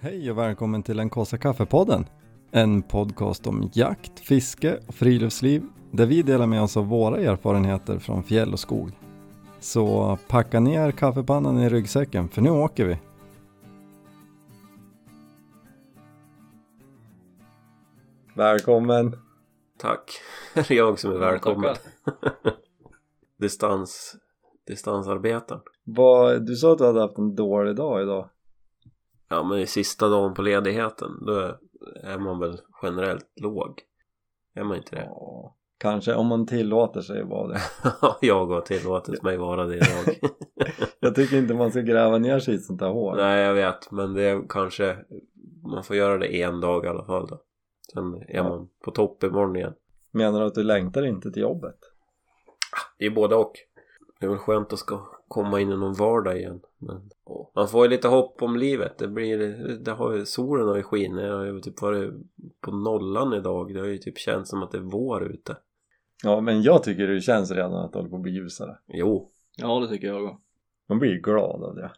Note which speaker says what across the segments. Speaker 1: Hej och välkommen till den kaffe kaffepodden. En podcast om jakt, fiske och friluftsliv där vi delar med oss av våra erfarenheter från fjäll och skog. Så packa ner kaffepannan i ryggsäcken för nu åker vi. Välkommen!
Speaker 2: Tack. Det är jag som är välkommen. Distans, distansarbetaren.
Speaker 1: du sa att du hade haft en dålig dag idag.
Speaker 2: Ja men i sista dagen på ledigheten då är- är man väl generellt låg. Är man inte det?
Speaker 1: Ja, kanske om man tillåter sig vara det.
Speaker 2: jag har tillåtit mig vara det idag.
Speaker 1: Jag tycker inte man ska gräva ner sig i ett sånt här hål.
Speaker 2: Nej jag vet men det är kanske man får göra det en dag i alla fall då. Sen är
Speaker 1: Ja.
Speaker 2: man på topp imorgon igen.
Speaker 1: Menar du att du längtar inte till jobbet?
Speaker 2: Det är både och. Det är väl skönt att ska komma in i någon vardag igen. Men, ja. man får ju lite hopp om livet. Det blir, det har, ju- solen har ju skinit. Jag har ju typ varit på nollan idag. Det har ju typ känts som att det är vår ute.
Speaker 1: Ja, men jag tycker det känns redan att det håller på att bli ljusare.
Speaker 2: Jo,
Speaker 3: Ja, det tycker jag också.
Speaker 1: Man blir ju glad av det.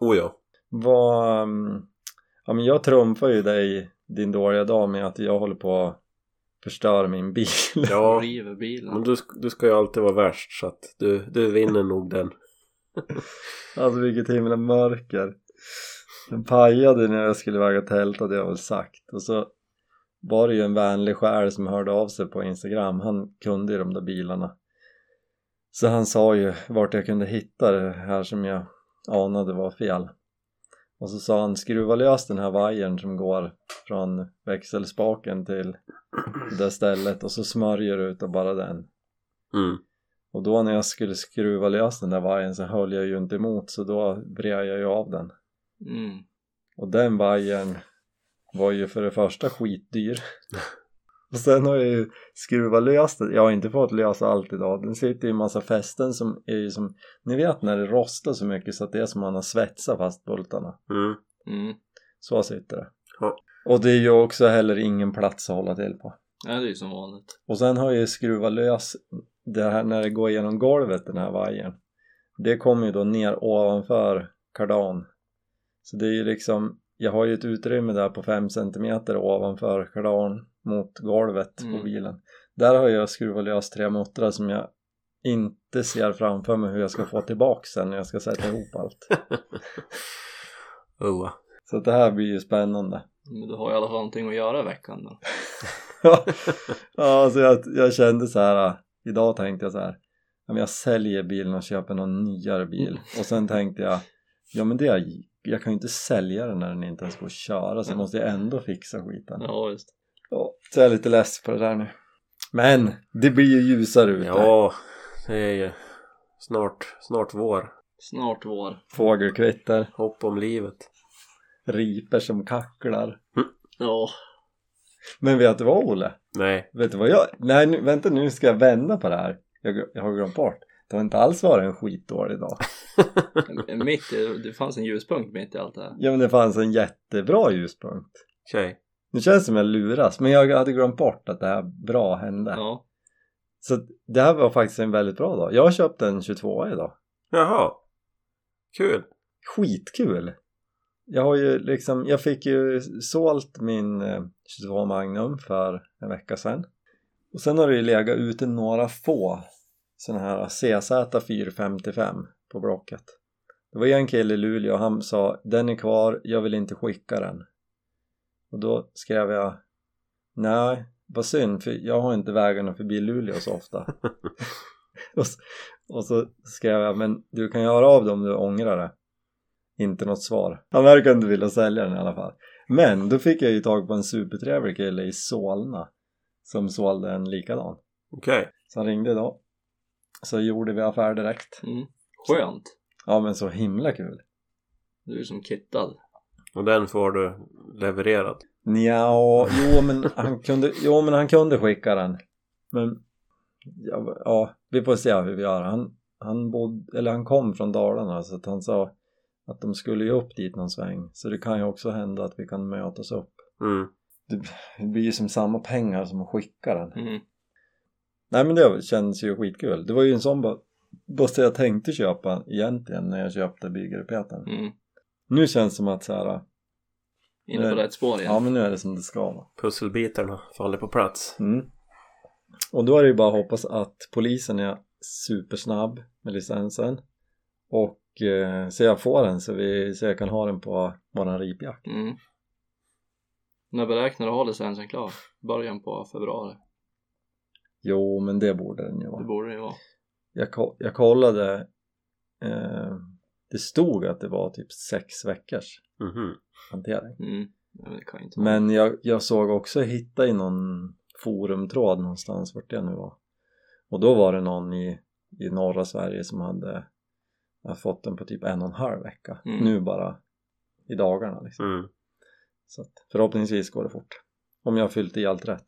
Speaker 2: o ja.
Speaker 1: Vad... mm, Ja, men jag trumfar ju dig din dåliga dag med att jag håller på att förstöra min bil.
Speaker 2: ja.
Speaker 3: River
Speaker 2: Men
Speaker 3: bilen.
Speaker 2: du, sk- du ska ju alltid vara värst så att du, du vinner nog den.
Speaker 1: Alltså vilket himla mörker. Den pajade när jag skulle väga tält hade jag väl sagt. Och så var det ju en vänlig själ som hörde av sig på Instagram. Han kunde ju de där bilarna. Så han sa ju vart jag kunde hitta det här som jag anade var fel. Och så sa han skruva lös den här vajern som går från växelspaken till det där stället och så smörjer du utav bara den.
Speaker 2: Mm.
Speaker 1: Och då när jag skulle skruva lös den där vajern så höll jag ju inte emot så då vred jag ju av den.
Speaker 3: Mm.
Speaker 1: Och den vajern var ju för det första skitdyr. Och sen har jag ju skruvat lös den. Jag har inte fått lösa allt idag. Den sitter i en massa fästen som är ju som... Ni vet när det rostar så mycket så att det är som man har svetsat fast bultarna.
Speaker 2: Mm.
Speaker 3: Mm.
Speaker 1: Så sitter det.
Speaker 2: Ja.
Speaker 1: Och det är ju också heller ingen plats att hålla till på.
Speaker 3: Ja, det är ju som vanligt.
Speaker 1: Och sen har jag ju skruvat lös det här när det går genom golvet den här vajern. Det kommer ju då ner ovanför kardan. Så det är ju liksom, jag har ju ett utrymme där på 5 cm ovanför kardan mot golvet på
Speaker 3: Mm.
Speaker 1: bilen. Där har jag skruvat lös tre muttrar som jag inte ser framför mig hur jag ska få tillbaka sen när jag ska sätta ihop allt.
Speaker 2: Oh.
Speaker 1: Så att det här blir ju spännande.
Speaker 3: Men du har ju i alla fall någonting att göra i veckan då.
Speaker 1: ja, alltså jag, jag kände så här. ah, Idag tänkte jag så här. ja, men Jag säljer bilen och köper någon nyare bil. Och sen tänkte jag. Ja men det, jag kan ju inte sälja den när den inte ens går att köra. Så måste jag ändå fixa skiten.
Speaker 3: Ja, visst.
Speaker 1: Ja, så jag är lite less på det där nu. Men det blir ju ljusare ute.
Speaker 2: Ja, det är ju snart, snart vår.
Speaker 3: Snart vår.
Speaker 1: Fågelkvitter,
Speaker 2: Hopp om livet.
Speaker 1: riper som kacklar.
Speaker 3: Ja.
Speaker 1: Men vet du vad Olle?
Speaker 2: Nej,
Speaker 1: Vet du vad jag... Nej nu, vänta nu ska jag vända på det här. Jag, jag har glömt bort. Det har inte alls varit en skitdålig dag.
Speaker 3: mitt i, det fanns en ljuspunkt mitt i allt det här.
Speaker 1: Ja men det fanns en jättebra ljuspunkt.
Speaker 2: tjej.
Speaker 1: Nu känns det som jag luras men jag hade glömt bort att det här bra hände.
Speaker 3: Ja.
Speaker 1: Så att det här var faktiskt en väldigt bra dag. Jag köpte en 22 idag.
Speaker 2: Jaha. Kul.
Speaker 1: Skitkul! Jag har ju liksom, jag fick ju sålt min eh, 22 Magnum för en vecka sedan. Och sen har det ju legat ute några få sådana här CZ 455 på Blocket. Det var ju en kille i Luleå och han sa den är kvar, jag vill inte skicka den. Och då skrev jag nej, vad synd för jag har inte vägarna förbi Luleå så ofta. och, s- och så skrev jag men du kan göra av dem om du ångrar det. Inte något svar. Han verkar inte vilja sälja den i alla fall. Men då fick jag ju tag på en supertrevlig kille i Solna som sålde en likadan.
Speaker 2: Okej.
Speaker 1: Så han ringde idag. Så gjorde vi affär direkt.
Speaker 3: Mm. Skönt.
Speaker 1: Ja men så himla kul.
Speaker 3: Du är som kittad.
Speaker 2: Och den får du levererad.
Speaker 1: Nja, jo men han kunde, jo, men han kunde skicka den. Men ja, ja, vi får se hur vi gör. Han, han, bodde, eller han kom från Dalarna så att han sa att de skulle ju upp dit någon sväng. Så det kan ju också hända att vi kan mötas upp.
Speaker 2: Mm.
Speaker 1: Det blir ju som samma pengar som att skicka den.
Speaker 3: Mm.
Speaker 1: Nej men det känns ju skitkul. Det var ju en sån bu- buss jag tänkte köpa egentligen när jag köpte byggrepeten.
Speaker 3: Mm.
Speaker 1: Nu känns det som att så här,
Speaker 3: Inne på
Speaker 1: Nej.
Speaker 3: rätt spår igen.
Speaker 1: Ja, men nu är det som det ska vara.
Speaker 2: Pusselbitarna faller på plats.
Speaker 1: Mm. Och då är det ju bara att hoppas att polisen är supersnabb med licensen och eh, så jag får den så, vi, så jag kan ha den på våran ripjakt.
Speaker 3: Mm. När beräknar du ha licensen klar? Början på februari.
Speaker 1: Jo, men det borde den ju
Speaker 3: Det
Speaker 1: vara.
Speaker 3: borde det ju vara.
Speaker 1: Jag, ko- jag kollade, eh, det stod att det var typ sex veckors
Speaker 2: Mhm.
Speaker 1: hantering.
Speaker 3: Mm. Nej, men det kan ju inte vara.
Speaker 1: Men jag, jag såg också hitta i någon forumtråd någonstans vart det nu var och då var det någon i, i norra Sverige som hade, hade fått den på typ en och en halv vecka
Speaker 3: Mm.
Speaker 1: nu bara i dagarna liksom.
Speaker 2: Mm.
Speaker 1: så att förhoppningsvis går det fort om jag har fyllt i allt rätt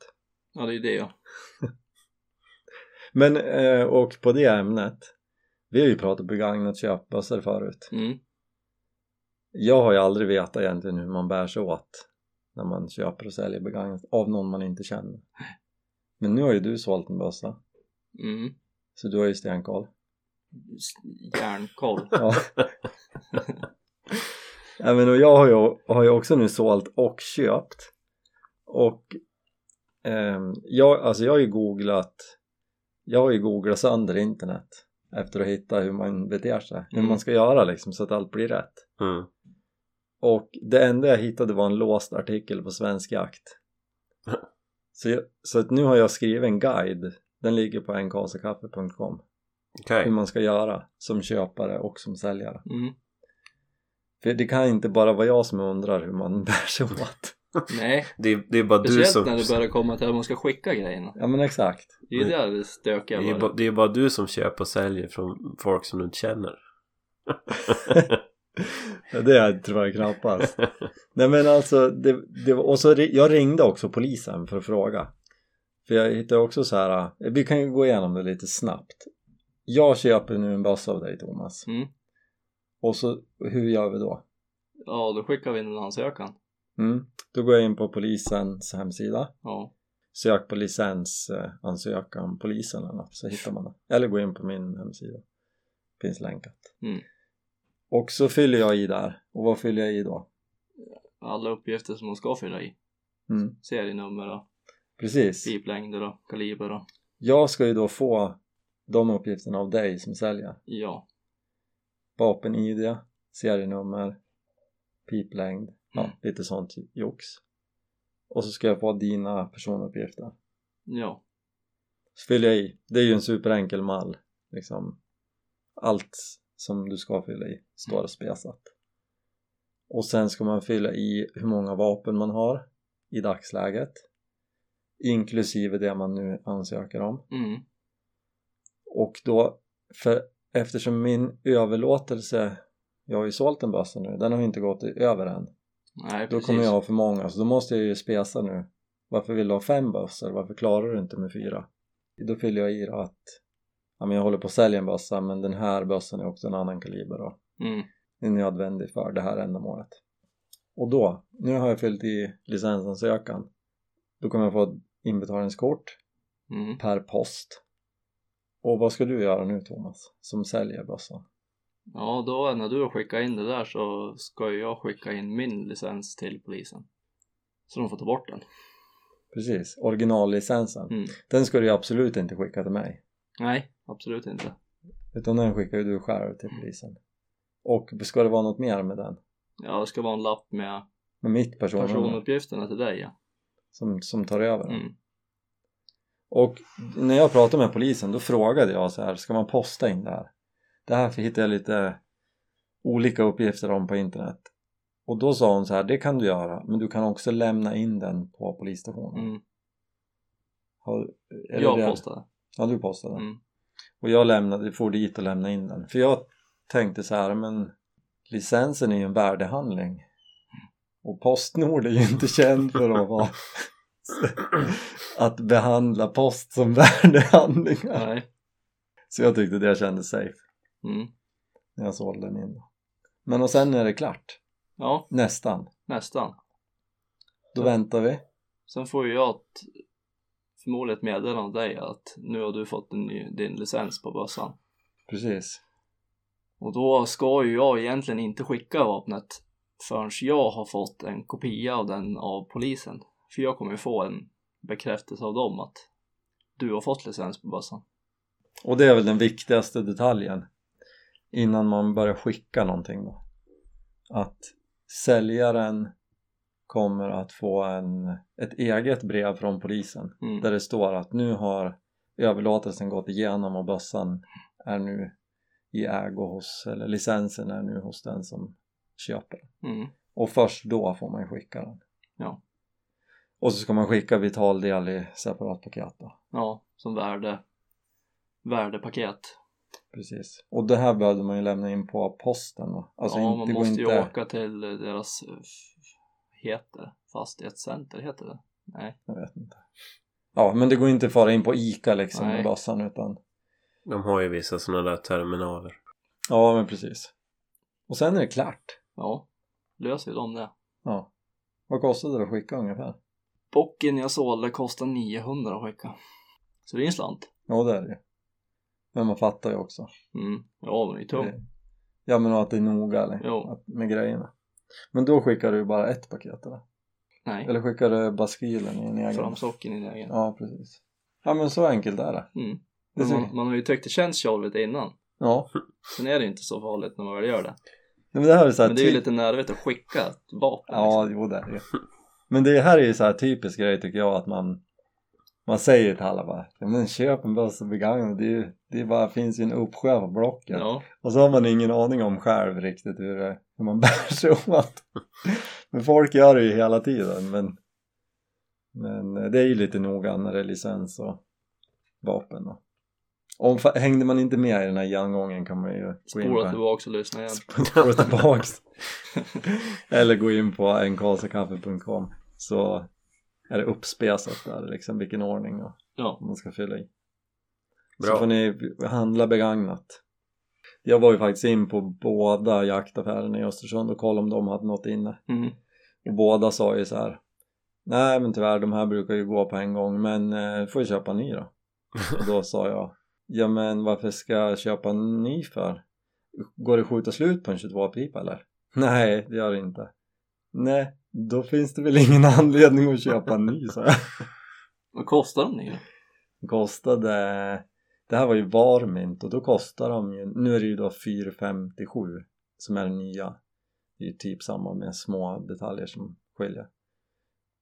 Speaker 3: Ja, det är ju det ja.
Speaker 1: men eh, och på det ämnet vi har ju pratat begagnat köpbössor förut
Speaker 3: Mm.
Speaker 1: jag har ju aldrig vetat egentligen hur man bär sig åt när man köper och säljer begagnat av någon man inte känner men nu har ju du sålt en bössa
Speaker 3: Mm.
Speaker 1: Så du har ju stenkoll.
Speaker 3: S- Järnkoll.
Speaker 1: Ja. Nej, men och jag har ju, har ju också nu sålt och köpt. Och ehm, jag, alltså jag har ju googlat jag har ju googlat sönder internet efter att hitta hur man beter sig, hur
Speaker 3: Mm.
Speaker 1: man ska göra liksom så att allt blir rätt.
Speaker 2: Mm.
Speaker 1: Och det enda jag hittade var en låst artikel på Svensk Jakt. Så, jag, så att nu har jag skrivit en guide, den ligger på nkskaffe.com,
Speaker 2: Okej.
Speaker 1: hur man ska göra som köpare och som säljare.
Speaker 3: Mm.
Speaker 1: För det kan inte bara vara jag som undrar hur man bär sig åt.
Speaker 3: Nej,
Speaker 2: Det, är- det är bara du
Speaker 3: speciellt
Speaker 2: som...
Speaker 3: när det börjar komma till att man ska skicka grejerna.
Speaker 1: Ja men exakt.
Speaker 3: Det är ju
Speaker 2: Nej.
Speaker 3: där det
Speaker 2: Det
Speaker 3: stökiga
Speaker 2: är,
Speaker 3: börjar.
Speaker 2: bara, det är bara du som köper och säljer från folk som du inte känner.
Speaker 1: Ja, Det är, tror jag knappast. Nej men alltså, det, det, var- och så ri- jag ringde också polisen för att fråga. För jag hittade också så här, eh, vi kan ju gå igenom det lite snabbt. Jag köper nu en bössa av dig Thomas.
Speaker 3: Mm.
Speaker 1: Och så, hur gör vi då?
Speaker 3: Ja, då skickar vi in en ansökan.
Speaker 1: Mm. Då går jag in på polisens hemsida.
Speaker 3: Ja.
Speaker 1: sök på licensansökan polisen eller något så hittar man det eller gå in på min hemsida finns länkat
Speaker 3: Mm.
Speaker 1: och så fyller jag i där och vad fyller jag i då?
Speaker 3: Alla uppgifter som man ska fylla i.
Speaker 1: Mm.
Speaker 3: Serienummer och
Speaker 1: precis
Speaker 3: piplängder och kaliber och
Speaker 1: jag ska ju då få de uppgifterna av dig som säljer
Speaker 3: ja.
Speaker 1: vapen-id, serienummer piplängd, ja
Speaker 3: Mm.
Speaker 1: lite sånt jox och så ska jag få dina personuppgifter
Speaker 3: Ja.
Speaker 1: så fyller jag i det är ju en superenkel mall liksom allt som du ska fylla i står spesat och sen ska man fylla i hur många vapen man har i dagsläget inklusive det man nu ansöker om
Speaker 3: Mm.
Speaker 1: och då för eftersom min överlåtelse jag har ju sålt en bössa nu den har ju inte gått över än
Speaker 3: Nej,
Speaker 1: då
Speaker 3: precis.
Speaker 1: kommer jag ha för många så då måste jag ju spesa nu varför vill du ha fem bössor? varför klarar du inte med fyra? då fyller jag i då att ja, men jag håller på att sälja en bössa men den här bössan är också en annan kaliber och
Speaker 3: Mm.
Speaker 1: är nödvändig för det här ändamålet och då, nu har jag fyllt i licensansökan då kommer jag få ett inbetalningskort
Speaker 3: Mm.
Speaker 1: per post och vad ska du göra nu Thomas som säljer bössan?
Speaker 3: Ja, då när du har skickat in det där så ska ju jag skicka in min licens till polisen. Så de får ta bort den.
Speaker 1: precis, originallicensen
Speaker 3: Mm.
Speaker 1: den ska du ju absolut inte skicka till mig
Speaker 3: Nej, absolut inte.
Speaker 1: Utan den skickar ju du själv till
Speaker 3: Mm.
Speaker 1: polisen. Och ska det vara något mer med den?
Speaker 3: Ja, det ska vara en lapp med
Speaker 1: Med mitt personnummer
Speaker 3: personuppgifterna till dig ja.
Speaker 1: som, som tar över den?
Speaker 3: Mm.
Speaker 1: Och när jag pratade med polisen då frågade jag så här, ska man posta in det här? Det här hittade jag lite olika uppgifter om på internet. Och då sa hon så här, det kan du göra men du kan också lämna in den på polisstationen.
Speaker 3: Mm.
Speaker 1: Har, är det det?
Speaker 3: Jag postade.
Speaker 1: Ja, du postade.
Speaker 3: Mm.
Speaker 1: Och jag lämnade, for dit och lämnade in den. För jag tänkte så här, men licensen är ju en värdehandling. Och Postnord är ju inte känd för att vara att behandla post som värdehandlingar.
Speaker 3: Nej.
Speaker 1: Så jag tyckte det kändes safe
Speaker 3: Mm.
Speaker 1: när jag sålde den in. Men och sen är det klart,
Speaker 3: Ja,
Speaker 1: nästan.
Speaker 3: nästan.
Speaker 1: Då väntar vi.
Speaker 3: Sen får ju jag ett, förmodligen ett meddelande av dig att nu har du fått en ny, din licens på bössan.
Speaker 1: Precis.
Speaker 3: Och då ska ju jag egentligen inte skicka vapnet förrän jag har fått en kopia av den av polisen. För jag kommer ju få en bekräftelse av dem att du har fått licens på bössan.
Speaker 1: Och det är väl den viktigaste detaljen innan man börjar skicka någonting då. Att säljaren kommer att få en, ett eget brev från polisen
Speaker 3: Mm.
Speaker 1: där det står att nu har överlåtelsen gått igenom och bössan är nu i ägo hos, eller licensen är nu hos den som köper den.
Speaker 3: Mm.
Speaker 1: Och först då får man skicka den.
Speaker 3: Ja.
Speaker 1: Och så ska man skicka vital del i separat paket då.
Speaker 3: Ja, som värde, värdepaket.
Speaker 1: Precis. Och det här behövde man ju lämna in på posten va? Alltså
Speaker 3: ja,
Speaker 1: inte,
Speaker 3: man
Speaker 1: det går
Speaker 3: måste
Speaker 1: inte...
Speaker 3: ju åka till deras, eh, f- heter det? fastighetscenter, heter det? Nej,
Speaker 1: Jag vet inte. Ja, men det går inte att fara in på ICA liksom
Speaker 3: Nej.
Speaker 1: med bössan utan...
Speaker 2: De har ju vissa sådana där terminaler.
Speaker 1: Ja, men precis. Och sen är det klart.
Speaker 3: ja, löser ju de det.
Speaker 1: Ja. Vad kostade det att skicka ungefär?
Speaker 3: Bocken jag sålde kostar 900 att skicka. Så det är en slant.
Speaker 1: Ja, det är det ju. Men man fattar ju också.
Speaker 3: Mm. Ja, men det är tungt.
Speaker 1: Det- Ja, men och att det är noga eller?
Speaker 3: Jo.
Speaker 1: Att, med grejerna. Men då skickar du ju bara ett paket eller?
Speaker 3: Nej,
Speaker 1: Eller skickar du baskilen i en egen?
Speaker 3: fram socken i lägen.
Speaker 1: Ja, precis. Ja, men så enkelt är det.
Speaker 3: Mm.
Speaker 1: det
Speaker 3: Men
Speaker 1: ser...
Speaker 3: man, man har ju tyckt det känns tjorvigt innan.
Speaker 1: Ja.
Speaker 3: Sen är det ju inte så farligt när man väl gör det.
Speaker 1: Men det här är så här
Speaker 3: Men det är ju
Speaker 1: typ-
Speaker 3: lite nervigt att skicka ett vapen. liksom.
Speaker 1: Ja, jo det är det ju. Men det här är ju så här typisk grej tycker jag att man man säger till alla bara "Ja, men köp en bössa begagnad det, är ju- det är bara, finns ju en uppsjö på Blocket
Speaker 3: liksom. ja.
Speaker 1: och så har man ingen aning om själv riktigt hur, det, hur man bär sig åt men folk gör det ju hela tiden men men eh, det är ju lite noga när det är licens och vapen och om, fa- hängde man inte med i den här genomgången kan man ju gå in på
Speaker 3: Spola
Speaker 1: en-
Speaker 3: tillbaks och lyssna igen.
Speaker 1: spola tillbaks eller gå in på enkarlsakaffe.com så är det uppspesat där liksom vilken ordning och
Speaker 3: Ja.
Speaker 1: vad man ska fylla i så får
Speaker 2: Bra.
Speaker 1: ni handla begagnat jag var ju faktiskt in på båda jaktaffärerna i Östersund och kollade om de hade något inne
Speaker 3: Mm.
Speaker 1: och båda sa ju så här nej men tyvärr de här brukar ju gå på en gång men eh, får ju köpa en ny då och då sa jag ja men varför ska jag köpa en ny för går det att skjuta slut på en 22-pipa eller nej det gör det inte nej då finns det väl ingen anledning att köpa en ny sa jag
Speaker 3: Vad kostar de nu?
Speaker 1: kostade det här var ju varmint och då kostar de ju nu är det ju då 457 som är den nya det är ju typ samma med små detaljer som skiljer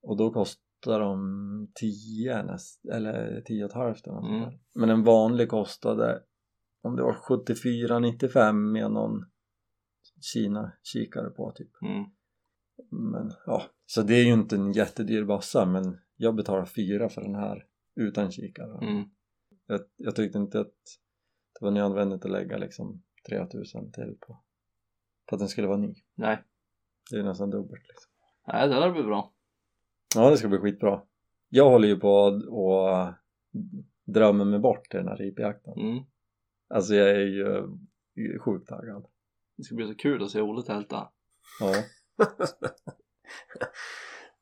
Speaker 1: och då kostar de 10 näst, eller 10 och ett halvt eller något sånt
Speaker 3: Mm.
Speaker 1: där. men en vanlig kostade om det var 74,95 med någon Kina kikare på typ
Speaker 3: Mm.
Speaker 1: men ja, så det är ju inte en jättedyr bössa men jag betalar fyra för den här utan kikare
Speaker 3: Mm.
Speaker 1: jag, jag tyckte inte att det var nödvändigt att lägga liksom 3000 till på, på att den skulle vara ny
Speaker 3: Nej.
Speaker 1: det är ju nästan dubbelt liksom.
Speaker 3: Nej, det där blir bra.
Speaker 1: ja det ska bli skitbra jag håller ju på att- och drömmer mig bort till den här ripjakten
Speaker 3: Mm.
Speaker 1: alltså jag är ju sjukt taggad
Speaker 3: Det ska bli så kul att se Olle tälta.
Speaker 1: ja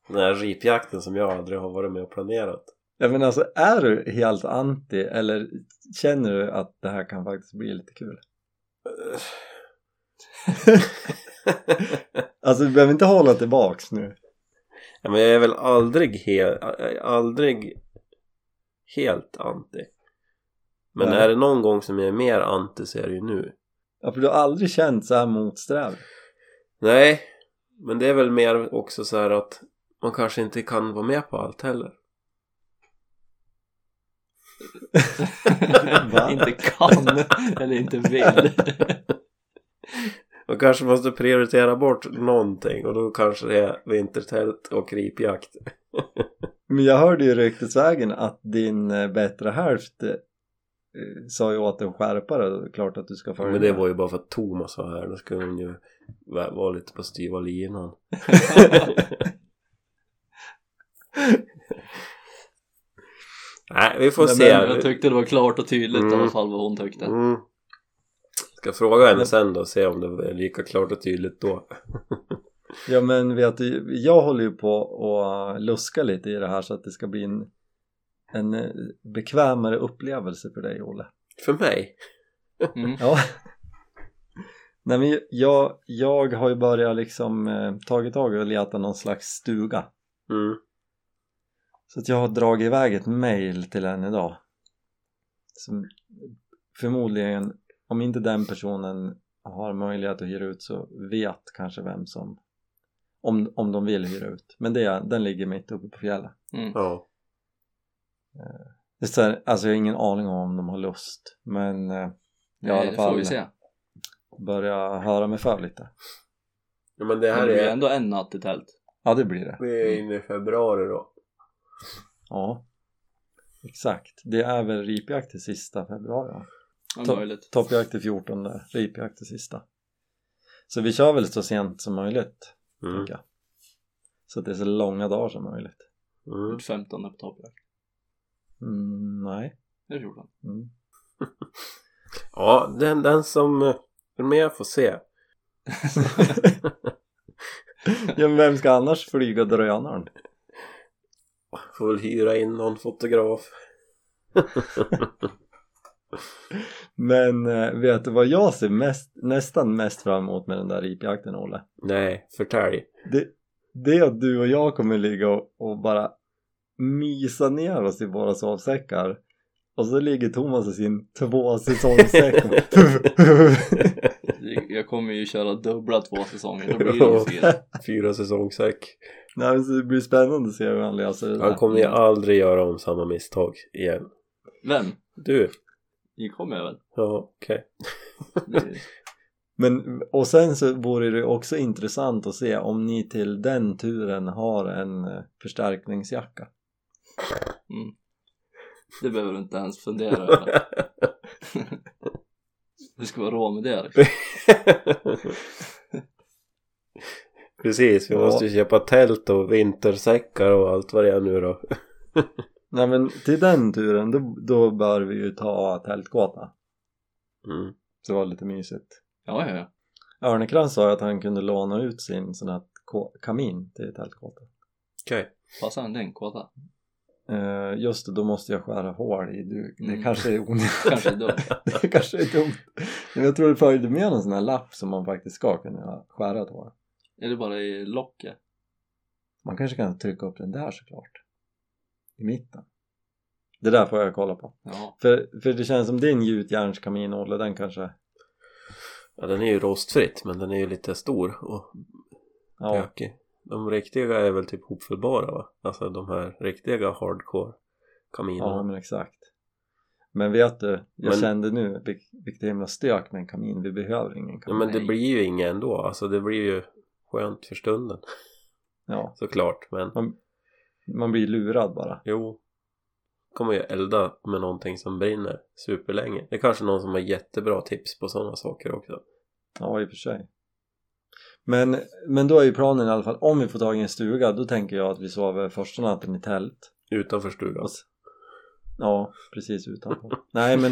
Speaker 2: Den här ripjakten som jag aldrig har varit med och planerat.
Speaker 1: Ja, men alltså är du helt anti eller känner du att det här kan faktiskt bli lite kul? Alltså du behöver inte hålla tillbaks nu
Speaker 2: Ja, men jag är väl aldrig, he- aldrig helt anti. Men
Speaker 1: Nej.
Speaker 2: är det någon gång som jag är mer anti så är det ju nu.
Speaker 1: ja, för du har aldrig känt så här motsträvig
Speaker 2: Nej, men det är väl mer också så här att man kanske inte kan vara med på allt heller.
Speaker 1: Va?
Speaker 3: inte kan eller inte vill.
Speaker 2: Man kanske måste prioritera bort någonting och då kanske det är vintertält och ripjakt.
Speaker 1: Men jag hörde ju ryktesvägen att din eh, bättre hälft eh, sa ju åt dig att skärpa dig, då är det klart att du ska följa
Speaker 2: Men det
Speaker 1: med.
Speaker 2: var ju bara för att Thomas var här, då skulle hon ju vä- vara lite på styva linan. Nej, vi får
Speaker 1: Nej,
Speaker 2: se.
Speaker 1: men
Speaker 3: Jag tyckte det var klart och tydligt i
Speaker 2: Mm.
Speaker 3: alla fall vad hon tyckte.
Speaker 2: Mm. Ska fråga henne sen då och se om det är lika klart och tydligt då.
Speaker 1: Ja men vet du, jag håller ju på och luska lite i det här så att det ska bli en, en eh, bekvämare upplevelse för dig Olle
Speaker 2: För mig?
Speaker 3: Mm.
Speaker 1: Ja Nej men jag, jag har ju börjat liksom eh, tagit tag i och leta någon slags stuga.
Speaker 2: Mm.
Speaker 1: Så att jag har dragit iväg ett mail till henne idag. Som förmodligen, om inte den personen har möjlighet att hyra ut så vet kanske vem som om, om de vill hyra ut. Men det, den ligger mitt uppe på fjället.
Speaker 3: Mm.
Speaker 2: Ja.
Speaker 1: Det är så här, alltså jag har ingen aning om om de har lust men eh, jag har i
Speaker 3: Nej,
Speaker 1: alla
Speaker 3: det får vi
Speaker 1: fall
Speaker 3: se.
Speaker 1: börjat höra mig för lite.
Speaker 2: ja. Men det
Speaker 3: Det
Speaker 2: här
Speaker 3: blir
Speaker 2: är...
Speaker 3: ändå en natt i tält.
Speaker 1: Ja det blir det.
Speaker 2: Vi är inne i februari då.
Speaker 1: Ja. Exakt. Det är väl ripjakt till sista februari va?
Speaker 3: Om
Speaker 1: Ta-
Speaker 3: möjligt.
Speaker 1: Toppjakt till 14, ripjakt till sista. Så vi kör väl så sent som möjligt,
Speaker 2: Mm.
Speaker 1: tänker jag. Så att det är så långa dagar som möjligt.
Speaker 2: Mm.
Speaker 3: 15 är på toppjakt.
Speaker 1: Mm, nej.
Speaker 3: Det är 14.
Speaker 1: Mm.
Speaker 2: Ja, den, den som... eh, Den mer får se.
Speaker 1: ja, men vem ska annars flyga drönaren?
Speaker 2: Får väl hyra in någon fotograf.
Speaker 1: Men eh, vet du vad jag ser mest, nästan mest fram emot med den där ripjakten, Olle?
Speaker 2: Nej, förtälj.
Speaker 1: Det, det är att du och jag kommer ligga och, och bara mysa ner oss i våra sovsäckar och så ligger Thomas i sin tvåsäsongssäck och
Speaker 3: Jag kommer ju köra dubbla två säsonger. Då blir det ju fel.
Speaker 2: Fyra säsongsäck.
Speaker 1: Nej, men så det blir spännande att se hur han löser det
Speaker 2: Han
Speaker 1: där.
Speaker 2: kommer ju aldrig göra om samma misstag igen.
Speaker 3: Vem?
Speaker 2: Du.
Speaker 3: Det kommer jag väl.
Speaker 2: Ja, okej.
Speaker 3: Det-
Speaker 1: Men, och sen så vore det också intressant att se om ni till den turen har en eh, förstärkningsjacka.
Speaker 3: Det behöver du inte ens fundera över. Du ska vara rå med det. liksom.
Speaker 2: Precis, vi
Speaker 1: Ja.
Speaker 2: måste ju köpa tält och vintersäckar och allt vad det är nu då.
Speaker 1: Nej men till den turen då, då bör vi ju ta tältgata.
Speaker 2: Mm.
Speaker 1: Så det var lite mysigt.
Speaker 3: Ja, ja, ja.
Speaker 1: Örnekrans sa ju att han kunde låna ut sin sån här ko- kamin till tältgata.
Speaker 2: Okej.
Speaker 3: Passar en den kåta?
Speaker 1: Eh, just det, då måste jag skära hål i duk. Det
Speaker 3: Mm.
Speaker 1: kanske är onödigt.
Speaker 3: Kanske dumt.
Speaker 1: det kanske är dumt. Men jag tror det följde med en sån här lapp som man faktiskt ska kunna skära ett hål.
Speaker 3: Är det bara i locket?
Speaker 1: Man kanske kan trycka upp den där såklart. I mitten. Det där får jag kolla på.
Speaker 3: Ja.
Speaker 1: För, för det känns som din gjutjärnskamin Olle, den kanske...
Speaker 2: Ja, den är ju rostfritt men den är ju lite stor och
Speaker 1: Ja,
Speaker 2: pökig. De riktiga är väl typ hopfällbara va? Alltså de här riktiga hardcore kaminerna.
Speaker 1: ja men exakt. Men vet du, jag
Speaker 2: Men-
Speaker 1: kände nu vil- vilket himla stök med en kamin. Vi behöver ingen
Speaker 2: Ja,
Speaker 1: kamin.
Speaker 2: men det
Speaker 3: Nej.
Speaker 2: blir ju inget ändå, alltså det blir ju skönt för stunden
Speaker 1: Ja,
Speaker 2: såklart men
Speaker 1: man blir lurad bara.
Speaker 2: jo kommer ju elda med någonting som brinner superlänge. Det är kanske någon som har jättebra tips på sådana saker också.
Speaker 1: Ja, i och för sig. Men, men då är ju planen i alla fall, om vi får tag i en stuga, då tänker jag att vi sover första natten i tält.
Speaker 2: Utanför stugan.
Speaker 1: Och
Speaker 3: Alltså.
Speaker 1: s- Ja, precis utanpå. Nej, men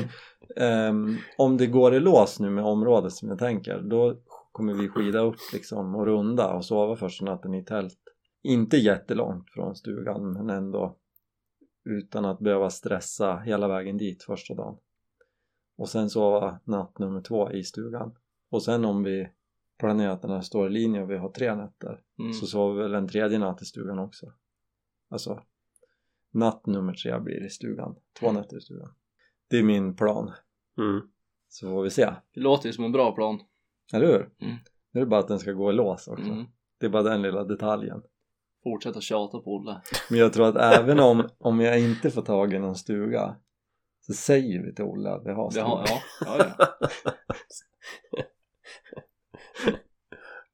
Speaker 1: ehm, om det går i lås nu med området som jag tänker, då kommer vi skida upp liksom och runda och sova första natten i tält. Inte jättelångt från stugan, men ändå utan att behöva stressa hela vägen dit första dagen. Och sen sova natt nummer två i stugan. Och sen om vi planerar att den här står i linje och vi har tre nätter
Speaker 3: Mm.
Speaker 1: så sover vi väl en tredje natt i stugan också alltså natt nummer tre blir i stugan två
Speaker 3: Mm.
Speaker 1: nätter i stugan det är min plan
Speaker 2: Mm.
Speaker 1: så får vi se,
Speaker 3: Det låter ju som en bra plan.
Speaker 1: eller hur?
Speaker 3: Mm.
Speaker 1: nu är det bara att den ska gå i lås också
Speaker 3: Mm.
Speaker 1: det är bara den lilla detaljen
Speaker 3: Fortsätta tjata på Olle.
Speaker 1: men jag tror att även om, om jag inte får tag i någon stuga så säger vi till Olle att vi har
Speaker 3: Det
Speaker 1: stuga
Speaker 3: har, ja, ja, ja.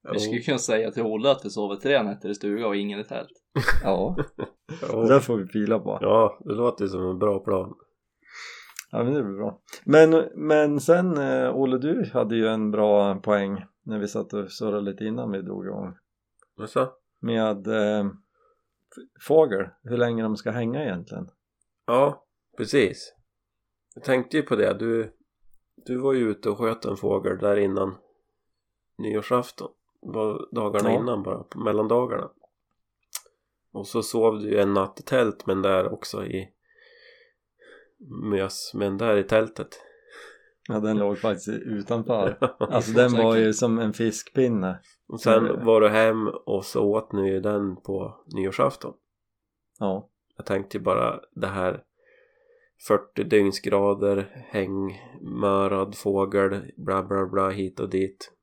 Speaker 3: Vi
Speaker 2: Jo.
Speaker 3: skulle kunna säga till Olle att vi sover tre nätter i stuga och ingen i tält.
Speaker 1: ja,
Speaker 2: Ja.
Speaker 1: det där får vi pila på
Speaker 2: Ja, det låter som en bra plan.
Speaker 1: ja men det blir bra men, men sen eh, Olle du hade ju en bra poäng när vi satt och surrade lite innan vi drog igång
Speaker 2: Alltså?
Speaker 1: med eh, f- fågel, hur länge de ska hänga egentligen.
Speaker 2: Ja, precis. Jag tänkte ju på det. Du, du var ju ute och sköt en fågel där innan nyårsafton. Det var dagarna
Speaker 1: Ja.
Speaker 2: innan bara, på mellandagarna. Och så sov du ju en natt i tält men där också i mös, men där i tältet.
Speaker 1: Ja, den låg faktiskt utanför. Alltså den var ju som en fiskpinne.
Speaker 2: Och sen var du hem och så åt ni ju den på nyårsafton.
Speaker 1: Ja,
Speaker 2: Jag tänkte ju bara det här 40 dygnsgrader, häng, mörad fågel, bla bla bla hit och dit.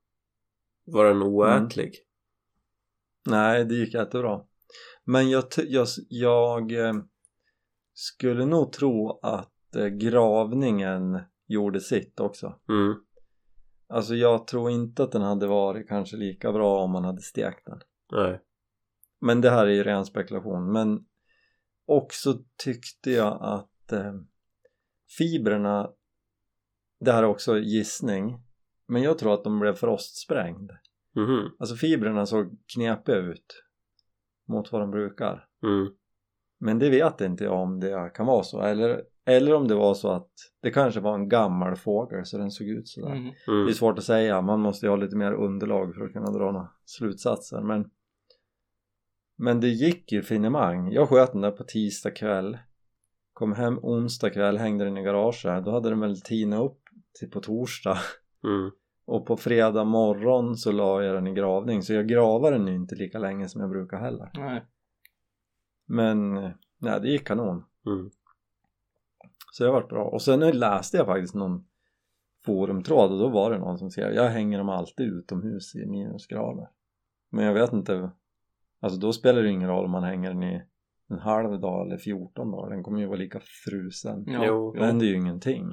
Speaker 2: Var den
Speaker 1: Mm.
Speaker 2: oätlig?
Speaker 1: nej det gick jättebra. Men jag, ty- jag, jag eh, skulle nog tro att eh, gravningen gjorde sitt också.
Speaker 2: Mm.
Speaker 1: Alltså jag tror inte att den hade varit kanske lika bra om man hade stekt den.
Speaker 2: Nej.
Speaker 1: Men det här är ju ren spekulation. Men också tyckte jag att eh, fibrerna, det här är också gissning, men jag tror att de blev frostsprängd.
Speaker 2: Mhm.
Speaker 1: Alltså fibrerna såg knepiga ut mot vad de brukar.
Speaker 2: Mm.
Speaker 1: Men det vet inte jag om det kan vara så. Eller, eller om det var så att det kanske var en gammal fågel så den såg ut sådär.
Speaker 3: Mm.
Speaker 1: Det
Speaker 2: Mm.
Speaker 1: är svårt att säga, man måste ju ha lite mer underlag för att kunna dra några slutsatser men men det gick ju finemang. Jag sköt den där på tisdag kväll kom hem onsdag kväll, hängde den i garaget då hade den väl tinat upp till på torsdag
Speaker 2: Mm.
Speaker 1: och på fredag morgon så la jag den i gravning så jag gravar den ju inte lika länge som jag brukar heller
Speaker 3: Nej.
Speaker 1: men nej, det gick kanon
Speaker 2: Mm.
Speaker 1: så det har varit bra och sen läste jag faktiskt någon forumtråd och då var det någon som skrev jag hänger dem alltid utomhus i minusgrader men jag vet inte alltså då spelar det ingen roll om man hänger den i en halv dag eller 14 dagar den kommer ju vara lika frusen
Speaker 3: Ja,
Speaker 2: Jo,
Speaker 1: det händer ju ingenting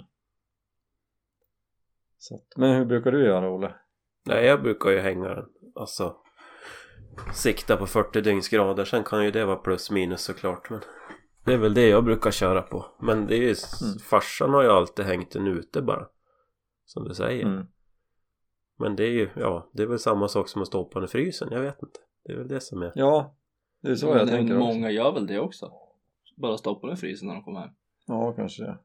Speaker 1: så att, men hur brukar du göra Olle?
Speaker 2: Nej, jag brukar ju hänga den. Alltså, sikta på 40 dygnsgrader. Sen kan ju det vara plus minus såklart. Men det är väl det jag brukar köra på. Men det är ju, s-
Speaker 1: Mm.
Speaker 2: farsan har ju alltid hängt den ute bara. Som du säger.
Speaker 1: Mm.
Speaker 2: Men det är ju, ja, det är väl samma sak som att stoppa den i frysen. Jag vet inte. Det är väl det som är.
Speaker 1: ja det är så jag
Speaker 3: Men
Speaker 1: tänker också.
Speaker 3: Många gör väl det också. Bara stoppa den i frysen när de kommer hem.
Speaker 1: ja kanske det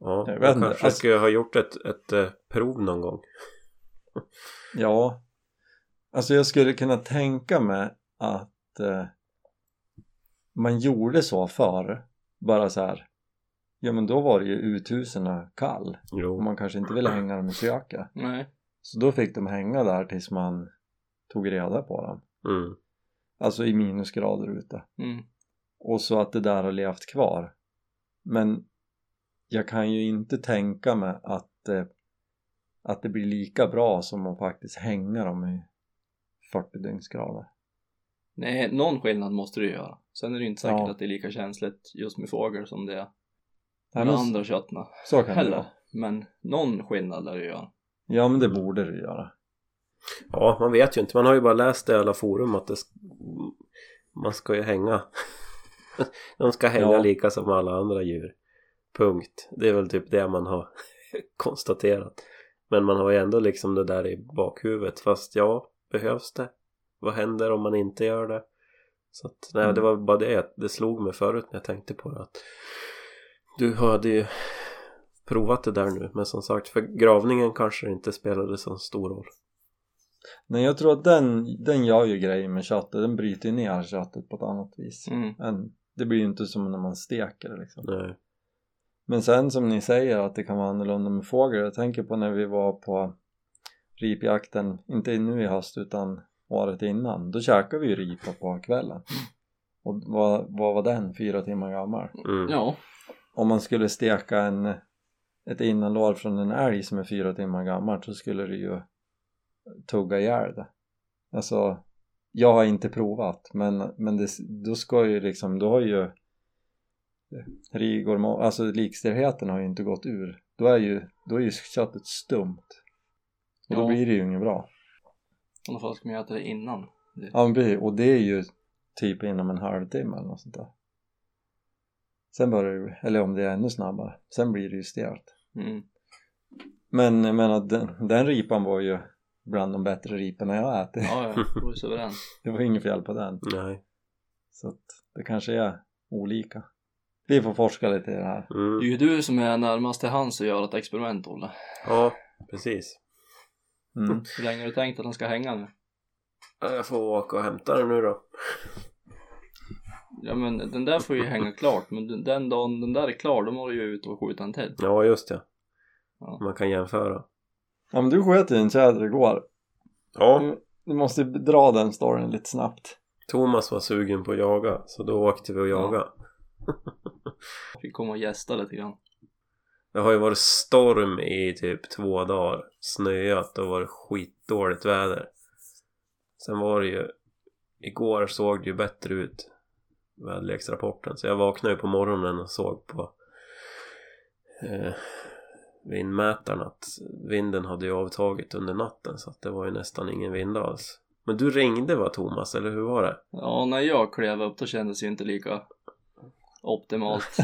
Speaker 2: Ja,
Speaker 1: Jag
Speaker 2: jag
Speaker 1: vet inte.
Speaker 2: kanske
Speaker 1: Alltså-
Speaker 2: skulle ha gjort ett, ett eh, prov någon gång.
Speaker 1: Ja, alltså jag skulle kunna tänka mig att eh, man gjorde så förr, bara så här. Ja men då var det ju uthusen kall och
Speaker 2: Jo.
Speaker 1: man kanske inte ville hänga dem i köket.
Speaker 3: Nej.
Speaker 1: Så då fick de hänga där tills man tog reda på dem.
Speaker 2: Mm.
Speaker 1: Alltså i minusgrader ute.
Speaker 3: Mm.
Speaker 1: Och så att det där har levt kvar. Men jag kan ju inte tänka mig att, eh, att det blir lika bra som att faktiskt hänga dem i 40 dygnsgrader.
Speaker 3: Nej, någon skillnad måste du göra. Sen är det ju inte säkert
Speaker 1: Ja.
Speaker 3: att det är lika känsligt just med fågel som det är
Speaker 1: Nej,
Speaker 3: med
Speaker 1: men
Speaker 3: andra köttna
Speaker 1: så kan det
Speaker 3: heller.
Speaker 1: vara.
Speaker 3: Men någon skillnad lär du göra.
Speaker 1: Ja men det borde det göra.
Speaker 2: Ja, man vet ju inte. Man har ju bara läst i alla forum att det, sk- man ska ju hänga. De ska hänga
Speaker 1: Ja.
Speaker 2: lika som alla andra djur. Punkt. Det är väl typ det man har konstaterat. Men man har ju ändå liksom det där i bakhuvudet. Fast ja, behövs det? Vad händer om man inte gör det? Så att, nej,
Speaker 1: Mm.
Speaker 2: det var bara det. att Det slog mig förut när jag tänkte på det. Att du hade ju provat det där nu. Men som sagt, för gravningen kanske det inte spelade så stor roll.
Speaker 1: Nej jag tror att den, den gör ju grejer med köttet, den bryter ju ner köttet på ett annat vis.
Speaker 3: Mm.
Speaker 1: Än, det blir ju inte som när man steker det liksom.
Speaker 2: Nej.
Speaker 1: Men sen som ni säger att det kan vara annorlunda med fågel. Jag tänker på när vi var på ripjakten, inte nu i höst utan året innan. Då käkade vi ju ripa på kvällen. Och vad, vad var den? Fyra timmar gammal.
Speaker 2: Mm.
Speaker 3: Ja.
Speaker 1: Om man skulle steka en, ett innanlår från en älg som är fyra timmar gammal så skulle det ju tugga ihjäl det. Alltså, jag har inte provat men, men det, då ska ju liksom, då har ju rigor, ma- alltså likstelheten har ju inte gått ur. Då är ju, då är ju köttet stumt. Och då
Speaker 3: Ja.
Speaker 1: blir det ju inget bra.
Speaker 3: I alla fall ska man äta det innan.
Speaker 1: Ja, men precis. och det är ju typ inom en halvtimme eller något sånt där. Sen börjar det ju- eller om det är ännu snabbare, sen blir det ju stelt.
Speaker 3: Mm.
Speaker 1: Men jag menar den, den ripan var ju bland de bättre riporna jag har ätit.
Speaker 3: Ja, ja. Det var ju suveränt.
Speaker 1: Det var inget fel på den.
Speaker 2: Nej.
Speaker 1: Så att det kanske är olika. Vi får forska lite i det här.
Speaker 3: Det är
Speaker 2: Mm.
Speaker 3: ju du som är närmast till hands att göra ett experiment, Olle.
Speaker 2: Ja, precis.
Speaker 1: Mm.
Speaker 3: Hur länge har du tänkt att den ska hänga nu?
Speaker 2: Ja, Jag får åka och hämta den nu då.
Speaker 3: Ja men den där får ju hänga klart men den- den dagen den där är klar då må du ju ut och skjuta en till.
Speaker 2: Ja, just det.
Speaker 3: Ja.
Speaker 2: Man kan jämföra.
Speaker 1: Ja men du sköt ju en tjäder igår.
Speaker 3: Mm.
Speaker 2: Ja,
Speaker 1: Du måste ju dra den storyn lite snabbt.
Speaker 2: Thomas var sugen på att jaga så då åkte vi och
Speaker 3: Ja.
Speaker 2: jagade.
Speaker 3: Fick komma och gästa lite grann.
Speaker 2: Det har ju varit storm i typ två dagar. Snöat och varit skitdåligt väder. Sen var det ju... Igår såg det ju bättre ut. Väderleksrapporten. Så jag vaknade ju på morgonen och såg på eh, vindmätaren att vinden hade ju avtagit under natten. Så att det var ju nästan ingen vind alls. Men du ringde va Thomas, eller hur var det?
Speaker 3: Ja när jag klev upp då kändes ju inte lika optimalt.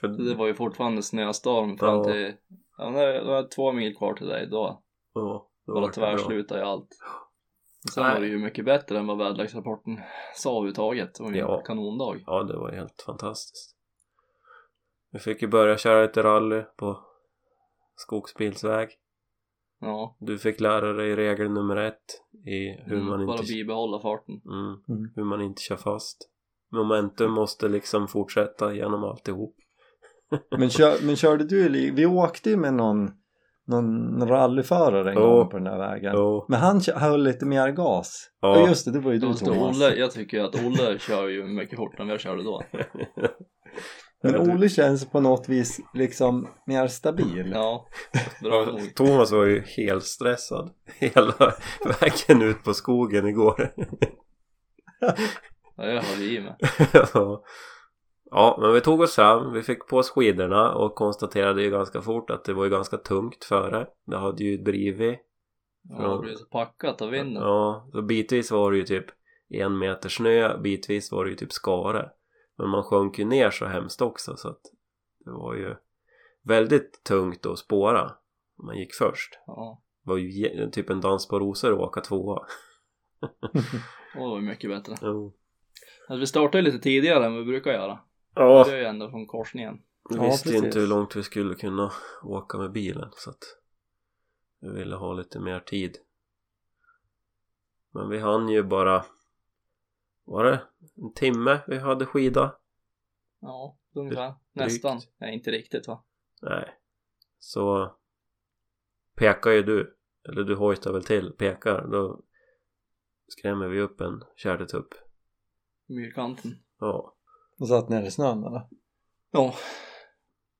Speaker 2: För
Speaker 3: Det var ju fortfarande snöstorm fram
Speaker 2: Ja.
Speaker 3: till... Ja, men det var två mil kvar till dig då.
Speaker 2: ja, det
Speaker 3: Bara
Speaker 2: var
Speaker 3: tvärslutade ju allt. Sen
Speaker 2: Nej.
Speaker 3: var det ju mycket bättre än vad väderleksrapporten sa överhuvudtaget. Det var ju
Speaker 2: Ja.
Speaker 3: en kanondag.
Speaker 2: Ja, det var ju helt fantastiskt. Vi fick ju börja köra lite rally på skogsbilsväg.
Speaker 3: Ja,
Speaker 2: Du fick lära dig regel nummer ett i hur, man,
Speaker 3: bara
Speaker 2: inte,
Speaker 3: bibehålla farten.
Speaker 2: mm,
Speaker 1: Mm.
Speaker 2: hur man inte kör fast. Momentum måste liksom fortsätta genom alltihop.
Speaker 1: Men, kör, men körde du i li- Vi åkte ju med någon, någon rallyförare en
Speaker 2: Ja.
Speaker 1: gång på den här vägen.
Speaker 2: Jo,
Speaker 1: Men han kö- höll lite mer gas.
Speaker 2: Ja.
Speaker 1: Ja just det, det var ju du
Speaker 3: Just det,
Speaker 1: Thomas.
Speaker 3: Olle, jag tycker ju att Olle kör ju mycket fortare än vad jag körde då.
Speaker 1: Men Olle känns på något vis liksom mer stabil.
Speaker 3: Ja, bra nog.
Speaker 2: Thomas var ju helt stressad hela vägen ut på skogen igår.
Speaker 3: Ja, jag höll i mig.
Speaker 2: Ja. ja, men vi tog oss fram, vi fick på oss skidorna och konstaterade ju ganska fort att det var ju ganska tungt före. Det hade ju drivit.
Speaker 3: Ja, Jag blev så packat av vinden.
Speaker 2: Ja, så bitvis var det ju typ en meter snö, bitvis var det ju typ skare. Men man sjönk ju ner så hemskt också så att det var ju väldigt tungt att spåra. Man gick först.
Speaker 3: Ja,
Speaker 2: Det var ju je- typ en dans på rosor att åka tvåa.
Speaker 3: och det var ju mycket bättre.
Speaker 2: Jo.
Speaker 3: Alltså, vi startade ju lite tidigare än vi brukar göra.
Speaker 2: Ja,
Speaker 3: Det är ju ändå från korsningen.
Speaker 2: Vi
Speaker 1: Ja,
Speaker 2: visste ju
Speaker 1: precis.
Speaker 2: inte hur långt vi skulle kunna åka med bilen så att vi ville ha lite mer tid. Men vi hann ju bara, var det en timme vi hade skida?
Speaker 3: Ja, ungefär. Nästan. Nej, inte riktigt va?
Speaker 2: Nej. Så pekar ju du, eller du hojtar väl till, pekar, då skrämmer vi upp en tjärdetupp.
Speaker 3: Myrkanten.
Speaker 2: Ja.
Speaker 1: Och satt ner i snön eller?
Speaker 3: Ja,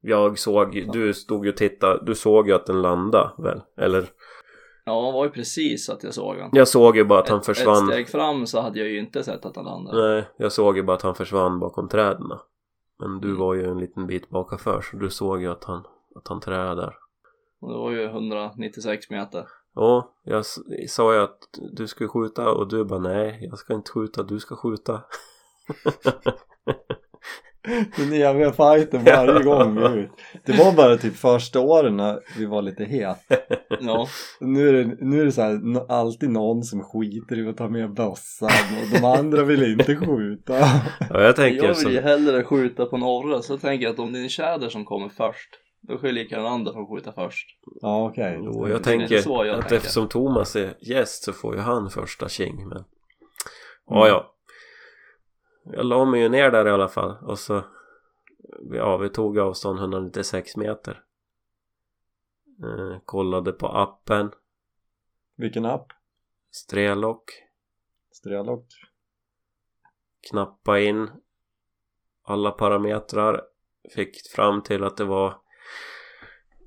Speaker 2: Jag såg, ju- du stod ju och tittade, du såg ju att den landade väl? Eller?
Speaker 3: ja det var ju precis att jag såg han.
Speaker 2: Jag såg ju bara att han
Speaker 3: Ett-
Speaker 2: försvann.
Speaker 3: Ett steg fram så hade jag ju inte sett att han landade.
Speaker 2: Nej, jag såg ju bara att han försvann bakom träden. Men du
Speaker 3: Mm.
Speaker 2: var ju en liten bit bakanför så du såg ju att han, att han trädade där.
Speaker 3: Och det var ju 196 meter.
Speaker 2: Ja, jag s- sa ju att du skulle skjuta och du bara nej, jag ska inte skjuta, du ska skjuta.
Speaker 1: Den eviga fighten varje gång vi är ut. Det var bara typ första åren när vi var lite het.
Speaker 3: Ja,
Speaker 1: Nu är det, nu är det så här, n- alltid någon som skiter i att ta med bössan och de andra vill inte skjuta.
Speaker 2: Ja, jag tänker
Speaker 3: jag
Speaker 2: så.
Speaker 3: vill ju hellre skjuta på en orre så tänker jag att om det är en tjäder som kommer först då skiljer den andra från att skjuta först.
Speaker 1: Ja okej.
Speaker 2: Jo, jag
Speaker 3: Det är inte
Speaker 2: tänker
Speaker 3: så jag
Speaker 2: att
Speaker 3: tänker.
Speaker 2: eftersom Thomas är gäst så får ju han första tjing. Men... Ja,
Speaker 1: Mm.
Speaker 2: ja. Jag la mig ju ner där i alla fall och så... Ja, vi tog avstånd 196 meter. Eh, kollade på appen,
Speaker 1: Vilken app?
Speaker 2: Strelock,
Speaker 1: Strölock?
Speaker 2: knappa in alla parametrar. Fick fram till att det var...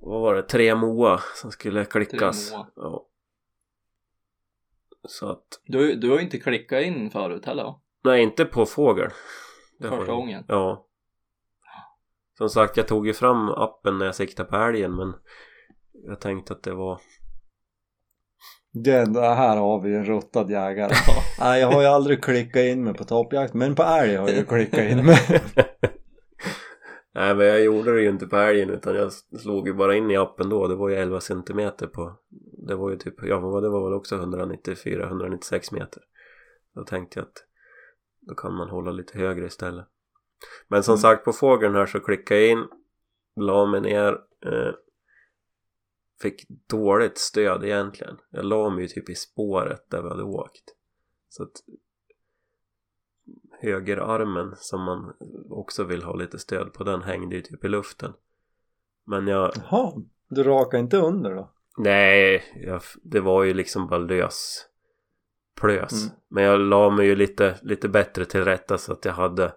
Speaker 2: Vad var det? Tre moa som skulle klickas.
Speaker 3: moa.
Speaker 2: Ja. Så att
Speaker 3: Du, du har ju inte klickat in förut heller va?
Speaker 2: Nej, inte på fågel. Det har
Speaker 3: Första
Speaker 2: jag-
Speaker 3: gången.
Speaker 2: Ja. Som sagt, jag tog ju fram appen när jag siktade på älgen men jag tänkte att det var...
Speaker 1: Det är ändå, här har vi en ruttad jägare.
Speaker 3: Ja.
Speaker 1: Nej jag har ju aldrig klickat in mig på toppjakt men på älg har jag ju klickat in mig.
Speaker 2: Nej, men jag gjorde det ju inte på älgen utan jag slog ju bara in i appen då. Det var ju 11 centimeter på... Det var ju typ... Ja, vad var det? Det var väl också 194-196 meter. Då tänkte jag att då kan man hålla lite högre istället. Men som
Speaker 1: Mm.
Speaker 2: sagt, på fågeln här så klickade jag in, la mig ner, eh, fick dåligt stöd egentligen. Jag la mig ju typ i spåret där vi hade åkt. Så att högerarmen som man också vill ha lite stöd på den hängde ju typ i luften. Men jag,
Speaker 1: Jaha, du rakar inte under då?
Speaker 2: nej, jag, det var ju liksom bara lös plös.
Speaker 1: Mm.
Speaker 2: Men jag la mig ju lite, lite bättre till rätta så att jag hade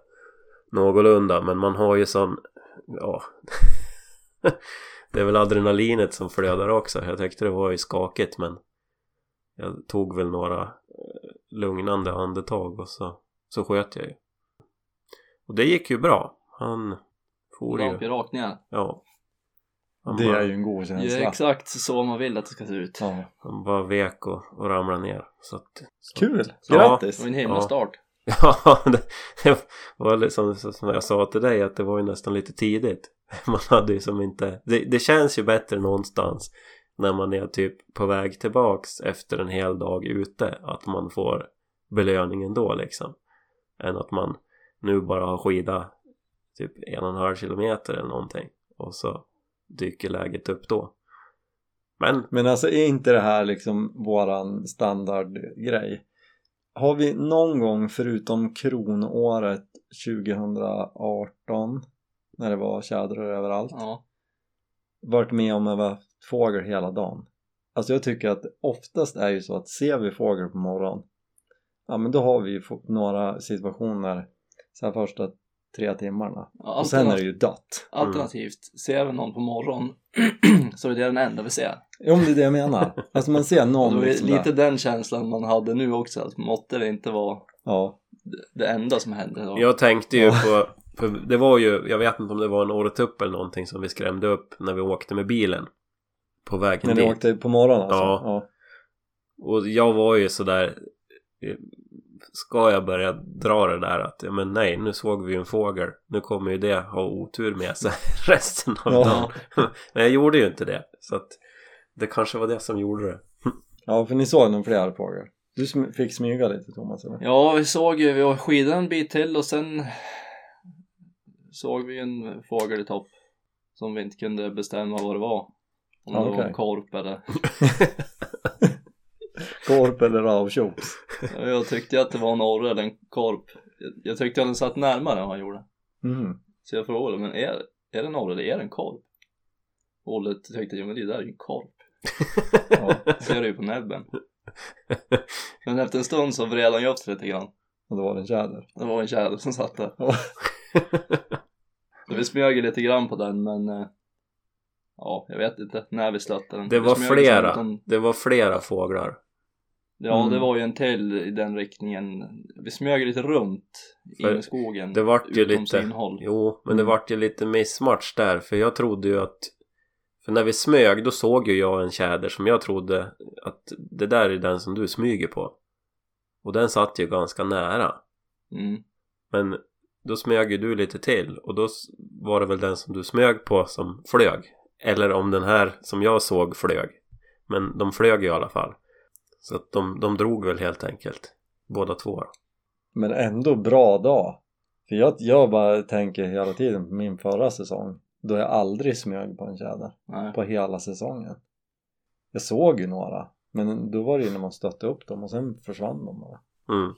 Speaker 2: någorlunda. Men man har ju sån, ja, det är väl adrenalinet som flödar också. Jag tyckte det var ju skakigt men jag tog väl några eh, lugnande andetag och så, så sköt jag ju. Och det gick ju bra. Han for
Speaker 3: Rakt i
Speaker 2: ju.
Speaker 3: rakningar.
Speaker 2: Ja. Han
Speaker 1: Det
Speaker 2: bara,
Speaker 1: är ju en god
Speaker 3: Det
Speaker 1: känsla.
Speaker 3: är exakt så man vill att det ska se ut.
Speaker 1: Ja.
Speaker 2: han bara vek och, och ramlade ner. Så att, så.
Speaker 1: Kul!
Speaker 2: Ja.
Speaker 1: Grattis!
Speaker 3: Det var en himla
Speaker 2: Ja.
Speaker 3: start.
Speaker 2: Ja, det, det var liksom som jag sa till dig att det var ju nästan lite tidigt. Man hade ju som inte... Det, det känns ju bättre någonstans när man är typ på väg tillbaks efter en hel dag ute att man får belöningen då liksom. Än att man nu bara har skida typ en och en halv kilometer eller någonting och så dyker läget upp då. Men
Speaker 1: Men alltså är inte det här liksom våran standardgrej? Har vi någon gång förutom kronåret 2018 när det var tjädrar överallt
Speaker 3: Ja.
Speaker 1: varit med om att vara fågel hela dagen? Alltså jag tycker att oftast är ju så att ser vi fågel på morgonen ja men då har vi ju fått några situationer så här första tre timmarna
Speaker 3: Ja,
Speaker 1: och sen är
Speaker 3: alternativ-
Speaker 1: det ju dött.
Speaker 3: Alternativt, ser vi någon på morgonen så är det den enda vi ser.
Speaker 1: Jo men det är det jag menar. Alltså man ser
Speaker 3: Och
Speaker 1: någon
Speaker 3: det var ju
Speaker 1: liksom där.
Speaker 3: lite den känslan man hade nu också, att måtte det inte vara
Speaker 1: Ja.
Speaker 3: det enda som hände. Då.
Speaker 2: Jag tänkte ju på, på... Det var ju... Jag vet inte om det var en åretupp eller någonting som vi skrämde upp när vi åkte med bilen. På vägen
Speaker 1: När ni
Speaker 2: dit.
Speaker 1: åkte på morgonen alltså?
Speaker 2: Ja. Och jag var ju sådär... eh, Ska jag börja dra det där att ja, men nej, nu såg vi ju en fågel. Nu kommer ju det ha otur med sig resten av
Speaker 1: Ja.
Speaker 2: dagen. Men jag gjorde ju inte det. Så att det kanske var det som gjorde det.
Speaker 1: Ja, för ni såg nog fler fåglar. Du sm- fick smyga lite Thomas eller?
Speaker 3: Ja, vi såg ju, vi skidade en bit till och sen såg vi en fågel i topp som vi inte kunde bestämma vad det var. Om det
Speaker 1: Ja,
Speaker 3: var
Speaker 1: okej.
Speaker 3: en korp eller...
Speaker 1: Korp eller ravtjops?
Speaker 3: Jag tyckte att det var en orre eller en korp. Jag, jag tyckte att den satt närmare än vad han gjorde.
Speaker 1: Mm.
Speaker 3: Så jag frågade, men är, är det en orre eller är det en korp? Olle tyckte, ja men det där är ju en korp.
Speaker 1: Ja,
Speaker 3: Ser du ju på näbben. Men efter en stund så vred han ju upp sig lite grann.
Speaker 1: och då var det en tjäder.
Speaker 3: Det var en tjäder som satt där.
Speaker 1: Ja.
Speaker 3: Så vi smög lite grann på den men eh, ja, jag vet inte när vi slötte den.
Speaker 2: Det
Speaker 3: Vi
Speaker 2: var
Speaker 1: liksom
Speaker 3: smög oss
Speaker 2: flera.
Speaker 3: mot en-
Speaker 2: Det var flera fåglar.
Speaker 3: Ja, det
Speaker 1: Mm.
Speaker 3: var ju en till i den riktningen. Vi smög lite runt
Speaker 2: För
Speaker 3: in i skogen.
Speaker 2: det vart ju
Speaker 3: utom
Speaker 2: lite-
Speaker 3: synhåll.
Speaker 2: Jo, men det
Speaker 1: Mm.
Speaker 2: vart ju lite missmatch där för jag trodde ju att för när vi smög då såg ju jag en tjäder som jag trodde att det där är den som du smyger på. Och den satt ju ganska nära.
Speaker 3: Mm.
Speaker 2: Men då smög ju du lite till och då s- var det väl den som du smög på som flög. Eller om den här som jag såg flög. Men de flög ju i alla fall. Så att de, de drog väl helt enkelt. Båda två.
Speaker 1: Men ändå bra dag. För jag, jag bara tänker hela tiden på min förra säsong då jag aldrig smög på en tjäder
Speaker 3: Nej.
Speaker 1: på hela säsongen. Jag såg ju några men då var det ju när man stötte upp dem och sen försvann de bara.
Speaker 2: Mm.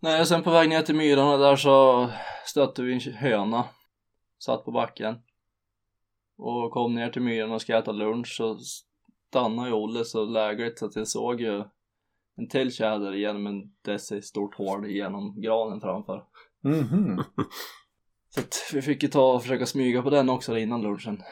Speaker 3: Nej, och sen på väg ner till myrarna där så stötte vi en höna. Satt på backen. Och kom ner till myrarna och ska äta lunch så stannade ju Olle så lägligt så att jag såg ju en till tjäder genom en deci stort hål genom granen framför.
Speaker 1: Mhm.
Speaker 3: Så att vi fick ju ta och försöka smyga på den också innan lunchen.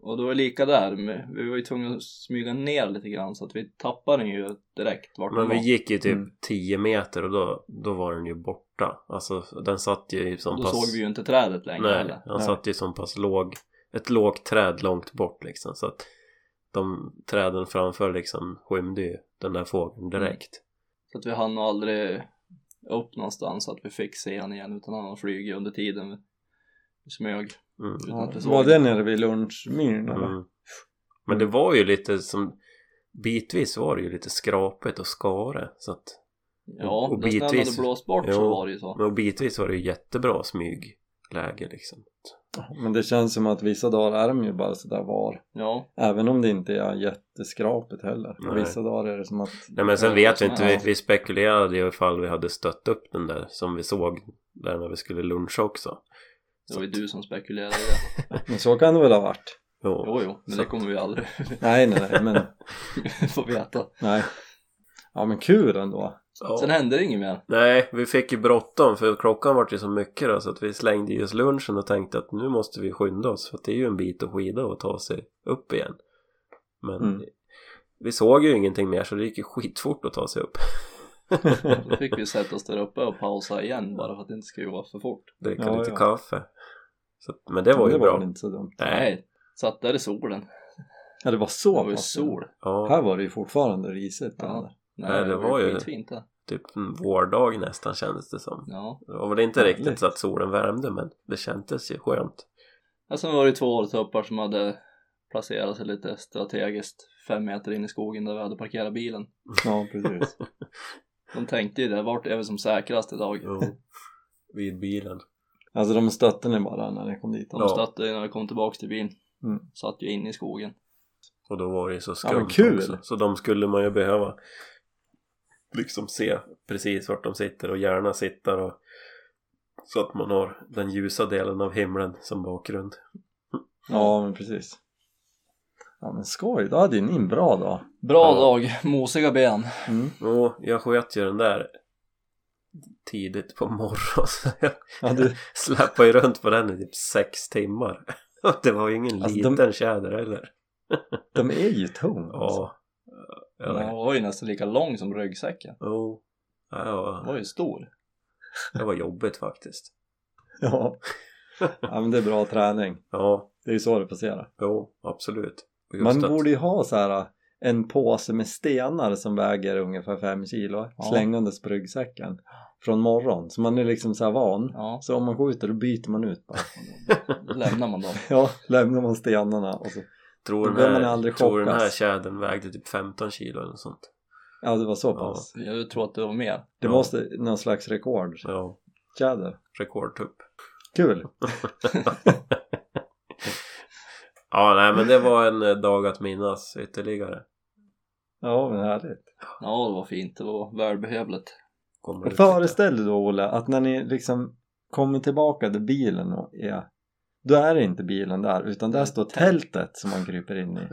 Speaker 3: Och det var lika där, men vi var ju tvungna att smyga ner lite grann så att vi tappade den ju direkt vart den
Speaker 2: Men vi
Speaker 3: var.
Speaker 2: gick ju typ
Speaker 1: Mm.
Speaker 2: 10 meter och då, då var den ju borta. Alltså den satt ju som
Speaker 3: Då
Speaker 2: pass...
Speaker 3: såg vi ju inte trädet längre
Speaker 2: Nej,
Speaker 3: heller.
Speaker 2: han
Speaker 1: Nej.
Speaker 2: satt ju som pass låg, ett lågt träd långt bort liksom så att de träden framför liksom skymde ju den där
Speaker 3: Mm.
Speaker 2: fågeln direkt.
Speaker 3: Så att vi hann nog aldrig upp någonstans så att vi fick se han igen utan han har flugit under tiden vi smög.
Speaker 2: Mm.
Speaker 3: Utan att vi såg
Speaker 1: Var
Speaker 3: det.
Speaker 1: det nere vid lunchmyren eller?
Speaker 2: Mm. Men det var ju lite som bitvis var det ju lite skrapigt och skare så att
Speaker 3: Ja,
Speaker 2: och
Speaker 3: när snön hade
Speaker 2: bitvis-
Speaker 3: blåst bort så
Speaker 2: Jo.
Speaker 3: var det ju så.
Speaker 2: men och bitvis var det ju jättebra smyg läge liksom.
Speaker 1: Men det känns som att vissa dagar är de ju bara sådär var.
Speaker 3: Ja,
Speaker 1: Även om det inte är jätteskrapigt heller.
Speaker 2: Nej.
Speaker 1: Vissa dagar är det som att...
Speaker 2: Nej men sen
Speaker 3: Ja,
Speaker 2: vet vi inte, vi,
Speaker 3: ja.
Speaker 2: vi spekulerade ju ifall vi hade stött upp den där som vi såg där när vi skulle luncha också.
Speaker 3: det var ju du som spekulerade i det.
Speaker 1: Men så kan det väl ha varit?
Speaker 2: Jo.
Speaker 3: Jo, jo, men det kommer vi aldrig
Speaker 1: Nej, nej, nej, men
Speaker 3: få veta.
Speaker 1: nej. Ja, men kul ändå.
Speaker 2: Ja.
Speaker 3: Sen hände det inget mer.
Speaker 2: Nej, vi fick ju bråttom för klockan var ju så mycket då så att vi slängde just lunchen och tänkte att nu måste vi skynda oss för att det är ju en bit att skida och ta sig upp igen. Men
Speaker 1: Mm.
Speaker 2: vi såg ju ingenting mer så det gick ju skitfort att ta sig upp.
Speaker 3: Då fick vi sätta oss där uppe och pausa igen bara för att det inte skulle gå för fort.
Speaker 2: Dricka
Speaker 1: Ja,
Speaker 2: lite
Speaker 1: ja.
Speaker 2: kaffe. Så, att- men det var ju
Speaker 1: det
Speaker 2: bra.
Speaker 1: Var väl inte så dumt.
Speaker 2: Nej.
Speaker 3: Nej, satt där i solen.
Speaker 1: Ja, det var
Speaker 3: Det
Speaker 1: så
Speaker 3: var ju
Speaker 1: pass.
Speaker 3: sol.
Speaker 2: Ja,
Speaker 1: Här var det ju fortfarande risigt.
Speaker 3: Ja.
Speaker 1: eller?
Speaker 2: Nej, det var ju-
Speaker 3: skitfint det.
Speaker 2: typ en vårdag nästan kändes det som.
Speaker 3: Ja.
Speaker 2: Det var väl inte
Speaker 1: Härligt.
Speaker 2: riktigt så att solen värmde men det kändes ju skönt.
Speaker 3: Ja, sen var det två åltuppar som hade placerat sig lite strategiskt fem meter in i skogen där vi hade parkerat bilen.
Speaker 1: Ja, precis.
Speaker 3: De tänkte ju det, vart är vi som säkrast idag?
Speaker 2: Jo. Vid bilen.
Speaker 1: Alltså de stötte ni bara när ni kom dit.
Speaker 3: De
Speaker 2: Ja.
Speaker 3: stötte ju när vi kom tillbaks till bilen.
Speaker 1: Mm.
Speaker 3: Satt ju inne i skogen.
Speaker 2: Och då var det ju så
Speaker 1: Ja,
Speaker 2: skumt
Speaker 1: men kul!
Speaker 2: också. Så de skulle man ju behöva liksom se precis vart de sitter och gärna sitta och så att man har den ljusa delen av himlen som bakgrund.
Speaker 1: Ja, men precis. Ja, men skoj. Då hade ju ni en bra dag.
Speaker 3: Bra
Speaker 2: Ja.
Speaker 3: dag, mosiga ben.
Speaker 1: Mm.
Speaker 2: Och jag sköt ju den där tidigt på morgonen så jag
Speaker 1: Ja, du,
Speaker 2: släppade ju runt på den i typ sex timmar. Och det var ju ingen
Speaker 1: Alltså, de-
Speaker 2: liten tjäder heller.
Speaker 1: de är ju tunga. alltså.
Speaker 2: Ja.
Speaker 3: Den
Speaker 2: Ja,
Speaker 3: var ju nästan lika lång som ryggsäcken.
Speaker 2: jo. Ja, det
Speaker 3: Den
Speaker 2: var-
Speaker 3: var ju stor.
Speaker 2: det var jobbigt faktiskt.
Speaker 1: ja. Ja, men det är bra träning.
Speaker 2: Ja,
Speaker 1: Det är ju så det passerar.
Speaker 2: jo, absolut. Och just
Speaker 1: Man
Speaker 2: att-
Speaker 1: borde ju ha så här en påse med stenar som väger ungefär 5 kilo
Speaker 3: Ja.
Speaker 1: slängandes på ryggsäcken från morgon. Så man är liksom så här van.
Speaker 3: Ja,
Speaker 1: Så om man skjuter då byter man ut bara.
Speaker 3: lämnar man dem.
Speaker 1: Ja, lämnar man stenarna och så.
Speaker 2: Tror
Speaker 1: Då
Speaker 2: den,
Speaker 1: behöver
Speaker 2: här,
Speaker 1: man aldrig
Speaker 2: tror den här
Speaker 1: chockas.
Speaker 2: tjädern vägde typ 15 kilo eller något sånt.
Speaker 1: Ja, det var så
Speaker 2: Ja.
Speaker 1: pass.
Speaker 3: Jag tror att det var mer.
Speaker 1: Det
Speaker 2: Ja.
Speaker 1: måste någon slags rekord.
Speaker 2: Ja,
Speaker 1: Tjäder.
Speaker 2: rekordtupp.
Speaker 1: Kul!
Speaker 2: Ja, nej men det var en eh, dag att minnas ytterligare.
Speaker 1: Ja, men härligt.
Speaker 3: Ja, det var fint. Det var välbehövligt.
Speaker 2: Kommer
Speaker 1: Och
Speaker 2: ut
Speaker 1: föreställ dig då Olle att när ni liksom kommer tillbaka till bilen och är då är det inte bilen där utan där står tältet som man kryper in i.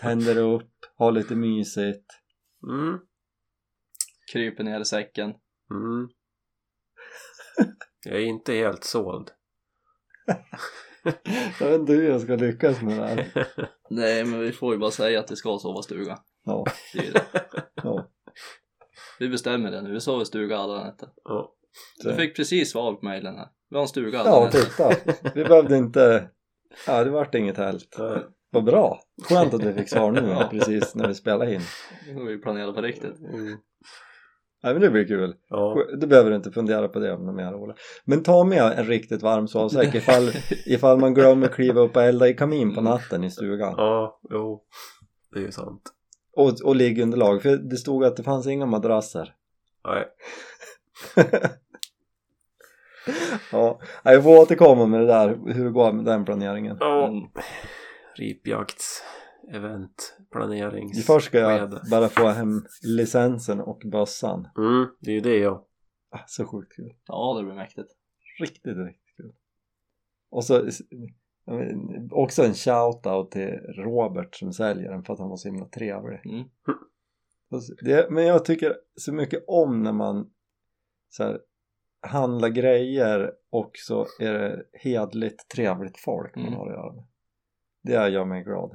Speaker 1: Tänder det upp, har lite mysigt.
Speaker 2: lite. Mm,
Speaker 3: Kryper ner i säcken.
Speaker 2: mm. Jag är inte helt såld.
Speaker 1: Jag vet inte hur jag ska lyckas med det här.
Speaker 3: Nej, men vi får ju bara säga att vi ska sova stuga.
Speaker 1: Ja,
Speaker 3: Det är ju det.
Speaker 1: ja.
Speaker 3: Vi bestämmer det nu. Vi sover i stuga alla nätter.
Speaker 2: Ja,
Speaker 1: Så-
Speaker 3: Du fick precis svar på mejlen här. Vi har en stuga alla
Speaker 1: ja,
Speaker 3: nätter.
Speaker 1: titta. Vi behövde inte... Ja, det vart inget tält.
Speaker 2: nej.
Speaker 1: Vad bra! Skönt att vi fick svar nu precis när vi spelade in.
Speaker 3: Nu har vi planerat på riktigt.
Speaker 2: Mm.
Speaker 1: Nej, men det blir kul.
Speaker 2: Ja,
Speaker 1: Du behöver inte fundera på det om mer Olle. Men ta med en riktigt varm sovsäck ifall, ifall man glömmer kliva upp och elda i kamin på natten i stugan.
Speaker 2: ja, jo. Det är ju sant.
Speaker 1: Och, och liggunderlag, för det stod att det fanns inga madrasser.
Speaker 2: Nej,
Speaker 1: Ja, nej, jag får återkomma med det där, hur det går med den planeringen.
Speaker 2: ja.
Speaker 3: Mm.
Speaker 2: Ripjakts event planerings...
Speaker 1: Först ska jag
Speaker 2: skede.
Speaker 1: bara få hem licensen och bössan.
Speaker 2: Mm, det är ju det jag.
Speaker 1: Ah, Så sjukt kul.
Speaker 3: Ja, det blir mäktigt.
Speaker 1: Riktigt, riktigt kul. Och så jag men, också en shout-out till Robert som säljer den för att han var så himla trevlig.
Speaker 3: Mm.
Speaker 1: Alltså, Det, men jag tycker så mycket om när man så här, handlar grejer och så är det hedligt trevligt folk man
Speaker 3: Mm.
Speaker 1: har att göra med. Det gör mig glad.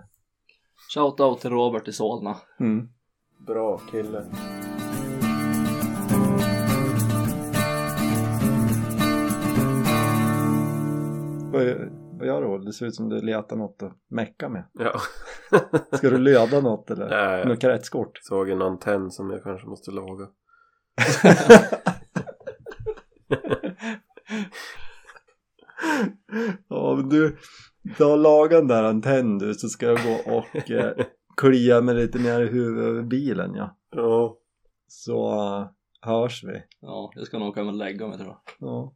Speaker 3: Shoutout till Robert i Solna.
Speaker 1: Mm.
Speaker 2: Bra kille.
Speaker 1: Vad, vad gör du Olle? Det ser ut som du letar något att mecka med.
Speaker 2: Ja.
Speaker 1: Ska du löda något eller?
Speaker 2: Nej, jag
Speaker 1: Något kretskort?
Speaker 2: såg en antenn som jag kanske måste laga.
Speaker 1: Ja men du, du har lagat den där antenn du så ska jag gå och eh, klia mig lite mer i huvudet över bilen ja.
Speaker 2: Ja.
Speaker 1: Så eh, hörs vi.
Speaker 3: Ja, jag ska nog åka hem och lägga mig tror jag.
Speaker 1: Ja.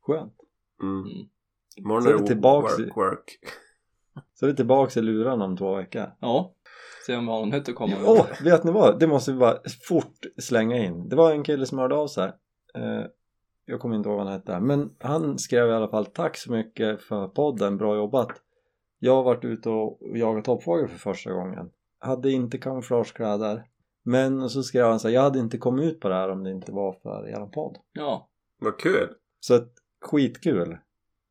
Speaker 1: Skönt.
Speaker 2: Mm.
Speaker 3: Mm.
Speaker 2: Imorgon
Speaker 1: Så är
Speaker 2: är
Speaker 1: vi
Speaker 2: det
Speaker 1: tillbaks i-
Speaker 2: work, work.
Speaker 1: Så är vi tillbaka i luran om två veckor.
Speaker 3: Ja. Se om vi har någon hytt att komma
Speaker 1: Åh, vet ni vad? Det måste vi bara fort slänga in. Det var en kille som hörde av sig. Eh, jag kommer inte ihåg vad han hette. Men han skrev i alla fall tack så mycket för podden, bra jobbat. Jag har varit ute och jagat toppfågel för första gången. Hade inte kamouflagekläder. Men och så skrev han så här, jag hade inte kommit ut på det här om det inte var för eran podd.
Speaker 3: Ja.
Speaker 2: Vad kul!
Speaker 1: Så att, skitkul.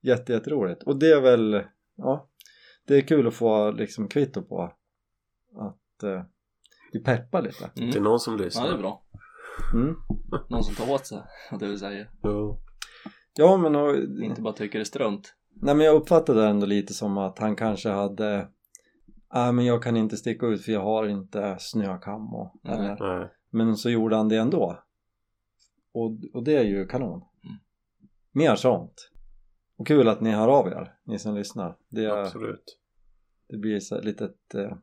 Speaker 1: Jätte, Jätteroligt. Och det är väl, ja, det är kul att få liksom kvitto på att eh, vi peppar lite.
Speaker 2: Det Till
Speaker 3: Mm.
Speaker 2: någon som
Speaker 3: ja,
Speaker 2: lyssnar.
Speaker 3: det är bra.
Speaker 1: Mm.
Speaker 3: Någon som tar åt sig av det vi säger.
Speaker 2: Ja.
Speaker 1: Ja men, och,
Speaker 3: Inte bara tycker det är strunt.
Speaker 1: nej, men jag uppfattade det ändå lite som att han kanske hade Nej men jag kan inte sticka ut för jag har inte snökam och,
Speaker 3: Nej.
Speaker 1: eller,
Speaker 2: Nej.
Speaker 1: Men så gjorde han det ändå och, och det är ju kanon
Speaker 3: Mm.
Speaker 1: Mer sånt Och kul att ni hör av er, ni som lyssnar Det,
Speaker 2: Absolut.
Speaker 1: det blir så här litet eh,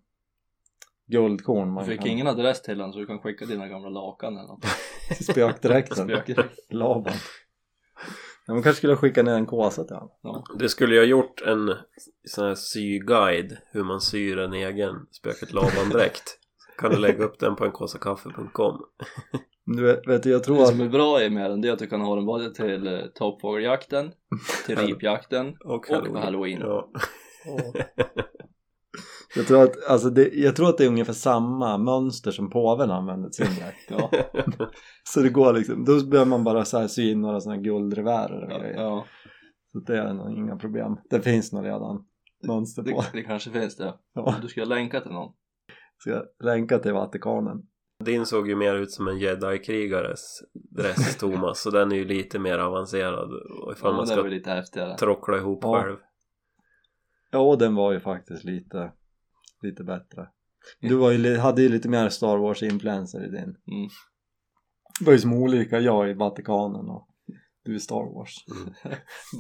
Speaker 1: guldkorn
Speaker 3: Du
Speaker 1: man
Speaker 3: fick
Speaker 1: kan
Speaker 3: ingen adress till honom så du kan skicka dina gamla lakan eller något.
Speaker 1: spökdräkten
Speaker 3: Spökdräkt.
Speaker 1: Laban ja, Man kanske skulle skicka ner en kåsa till honom
Speaker 2: Det skulle jag gjort en sån här syguide hur man syr en egen spöket Laban-dräkt. kan du lägga upp den på enkosakaffe.com.
Speaker 1: Du vet- vet, jag tror
Speaker 3: Det
Speaker 1: att
Speaker 3: som är bra är med den det är att du kan ha den både till eh, toppfågeljakten, till ripjakten.
Speaker 2: Och
Speaker 3: på Halloween.
Speaker 2: Ja.
Speaker 1: Jag tror, att, alltså det, jag tror att det är ungefär samma mönster som påven använder till sin jakt.
Speaker 3: Ja,
Speaker 1: Så det går liksom, då behöver man bara så här sy in några sådana guldrevärer och
Speaker 3: ja,
Speaker 1: grejer.
Speaker 3: ja.
Speaker 1: Så det är nog inga problem. Det finns nog redan mönster på.
Speaker 3: Det, det kanske finns det.
Speaker 1: Ja,
Speaker 3: Du ska länka till någon.
Speaker 1: ska jag länka till Vatikanen.
Speaker 2: Din såg ju mer ut som en jedi-krigares dress Thomas så den är ju lite mer avancerad och ifall
Speaker 3: Ja,
Speaker 2: man
Speaker 3: det är väl
Speaker 2: ska
Speaker 3: lite häftigare.
Speaker 2: trockla ihop
Speaker 1: Ja.
Speaker 2: själv.
Speaker 1: Ja, och den var ju faktiskt lite, lite bättre. Du var ju, li- hade ju lite mer Star Wars-influencer i din.
Speaker 3: Mm.
Speaker 1: Det var ju som olika, jag i Vatikanen och du i Star Wars.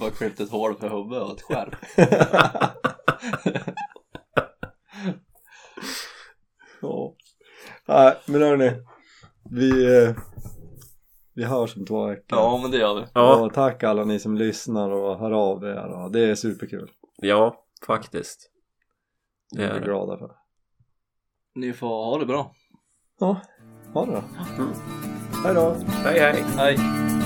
Speaker 3: Bara klippt ett hål för huvudet och ett skärp.
Speaker 1: ja. Nej, men hörni. Vi, eh, vi hörs om två veckor.
Speaker 3: Ja, men det gör vi.
Speaker 2: Ja,
Speaker 1: Och tack alla ni som lyssnar och hör av er. Och det är superkul.
Speaker 2: ja, faktiskt.
Speaker 1: Det
Speaker 2: Det är
Speaker 1: är vi
Speaker 2: det.
Speaker 1: glada för.
Speaker 3: Ni får ha det bra.
Speaker 1: Ja, ha det då.
Speaker 2: Mm.
Speaker 1: Hej då.
Speaker 2: Hej hej!
Speaker 3: Hej!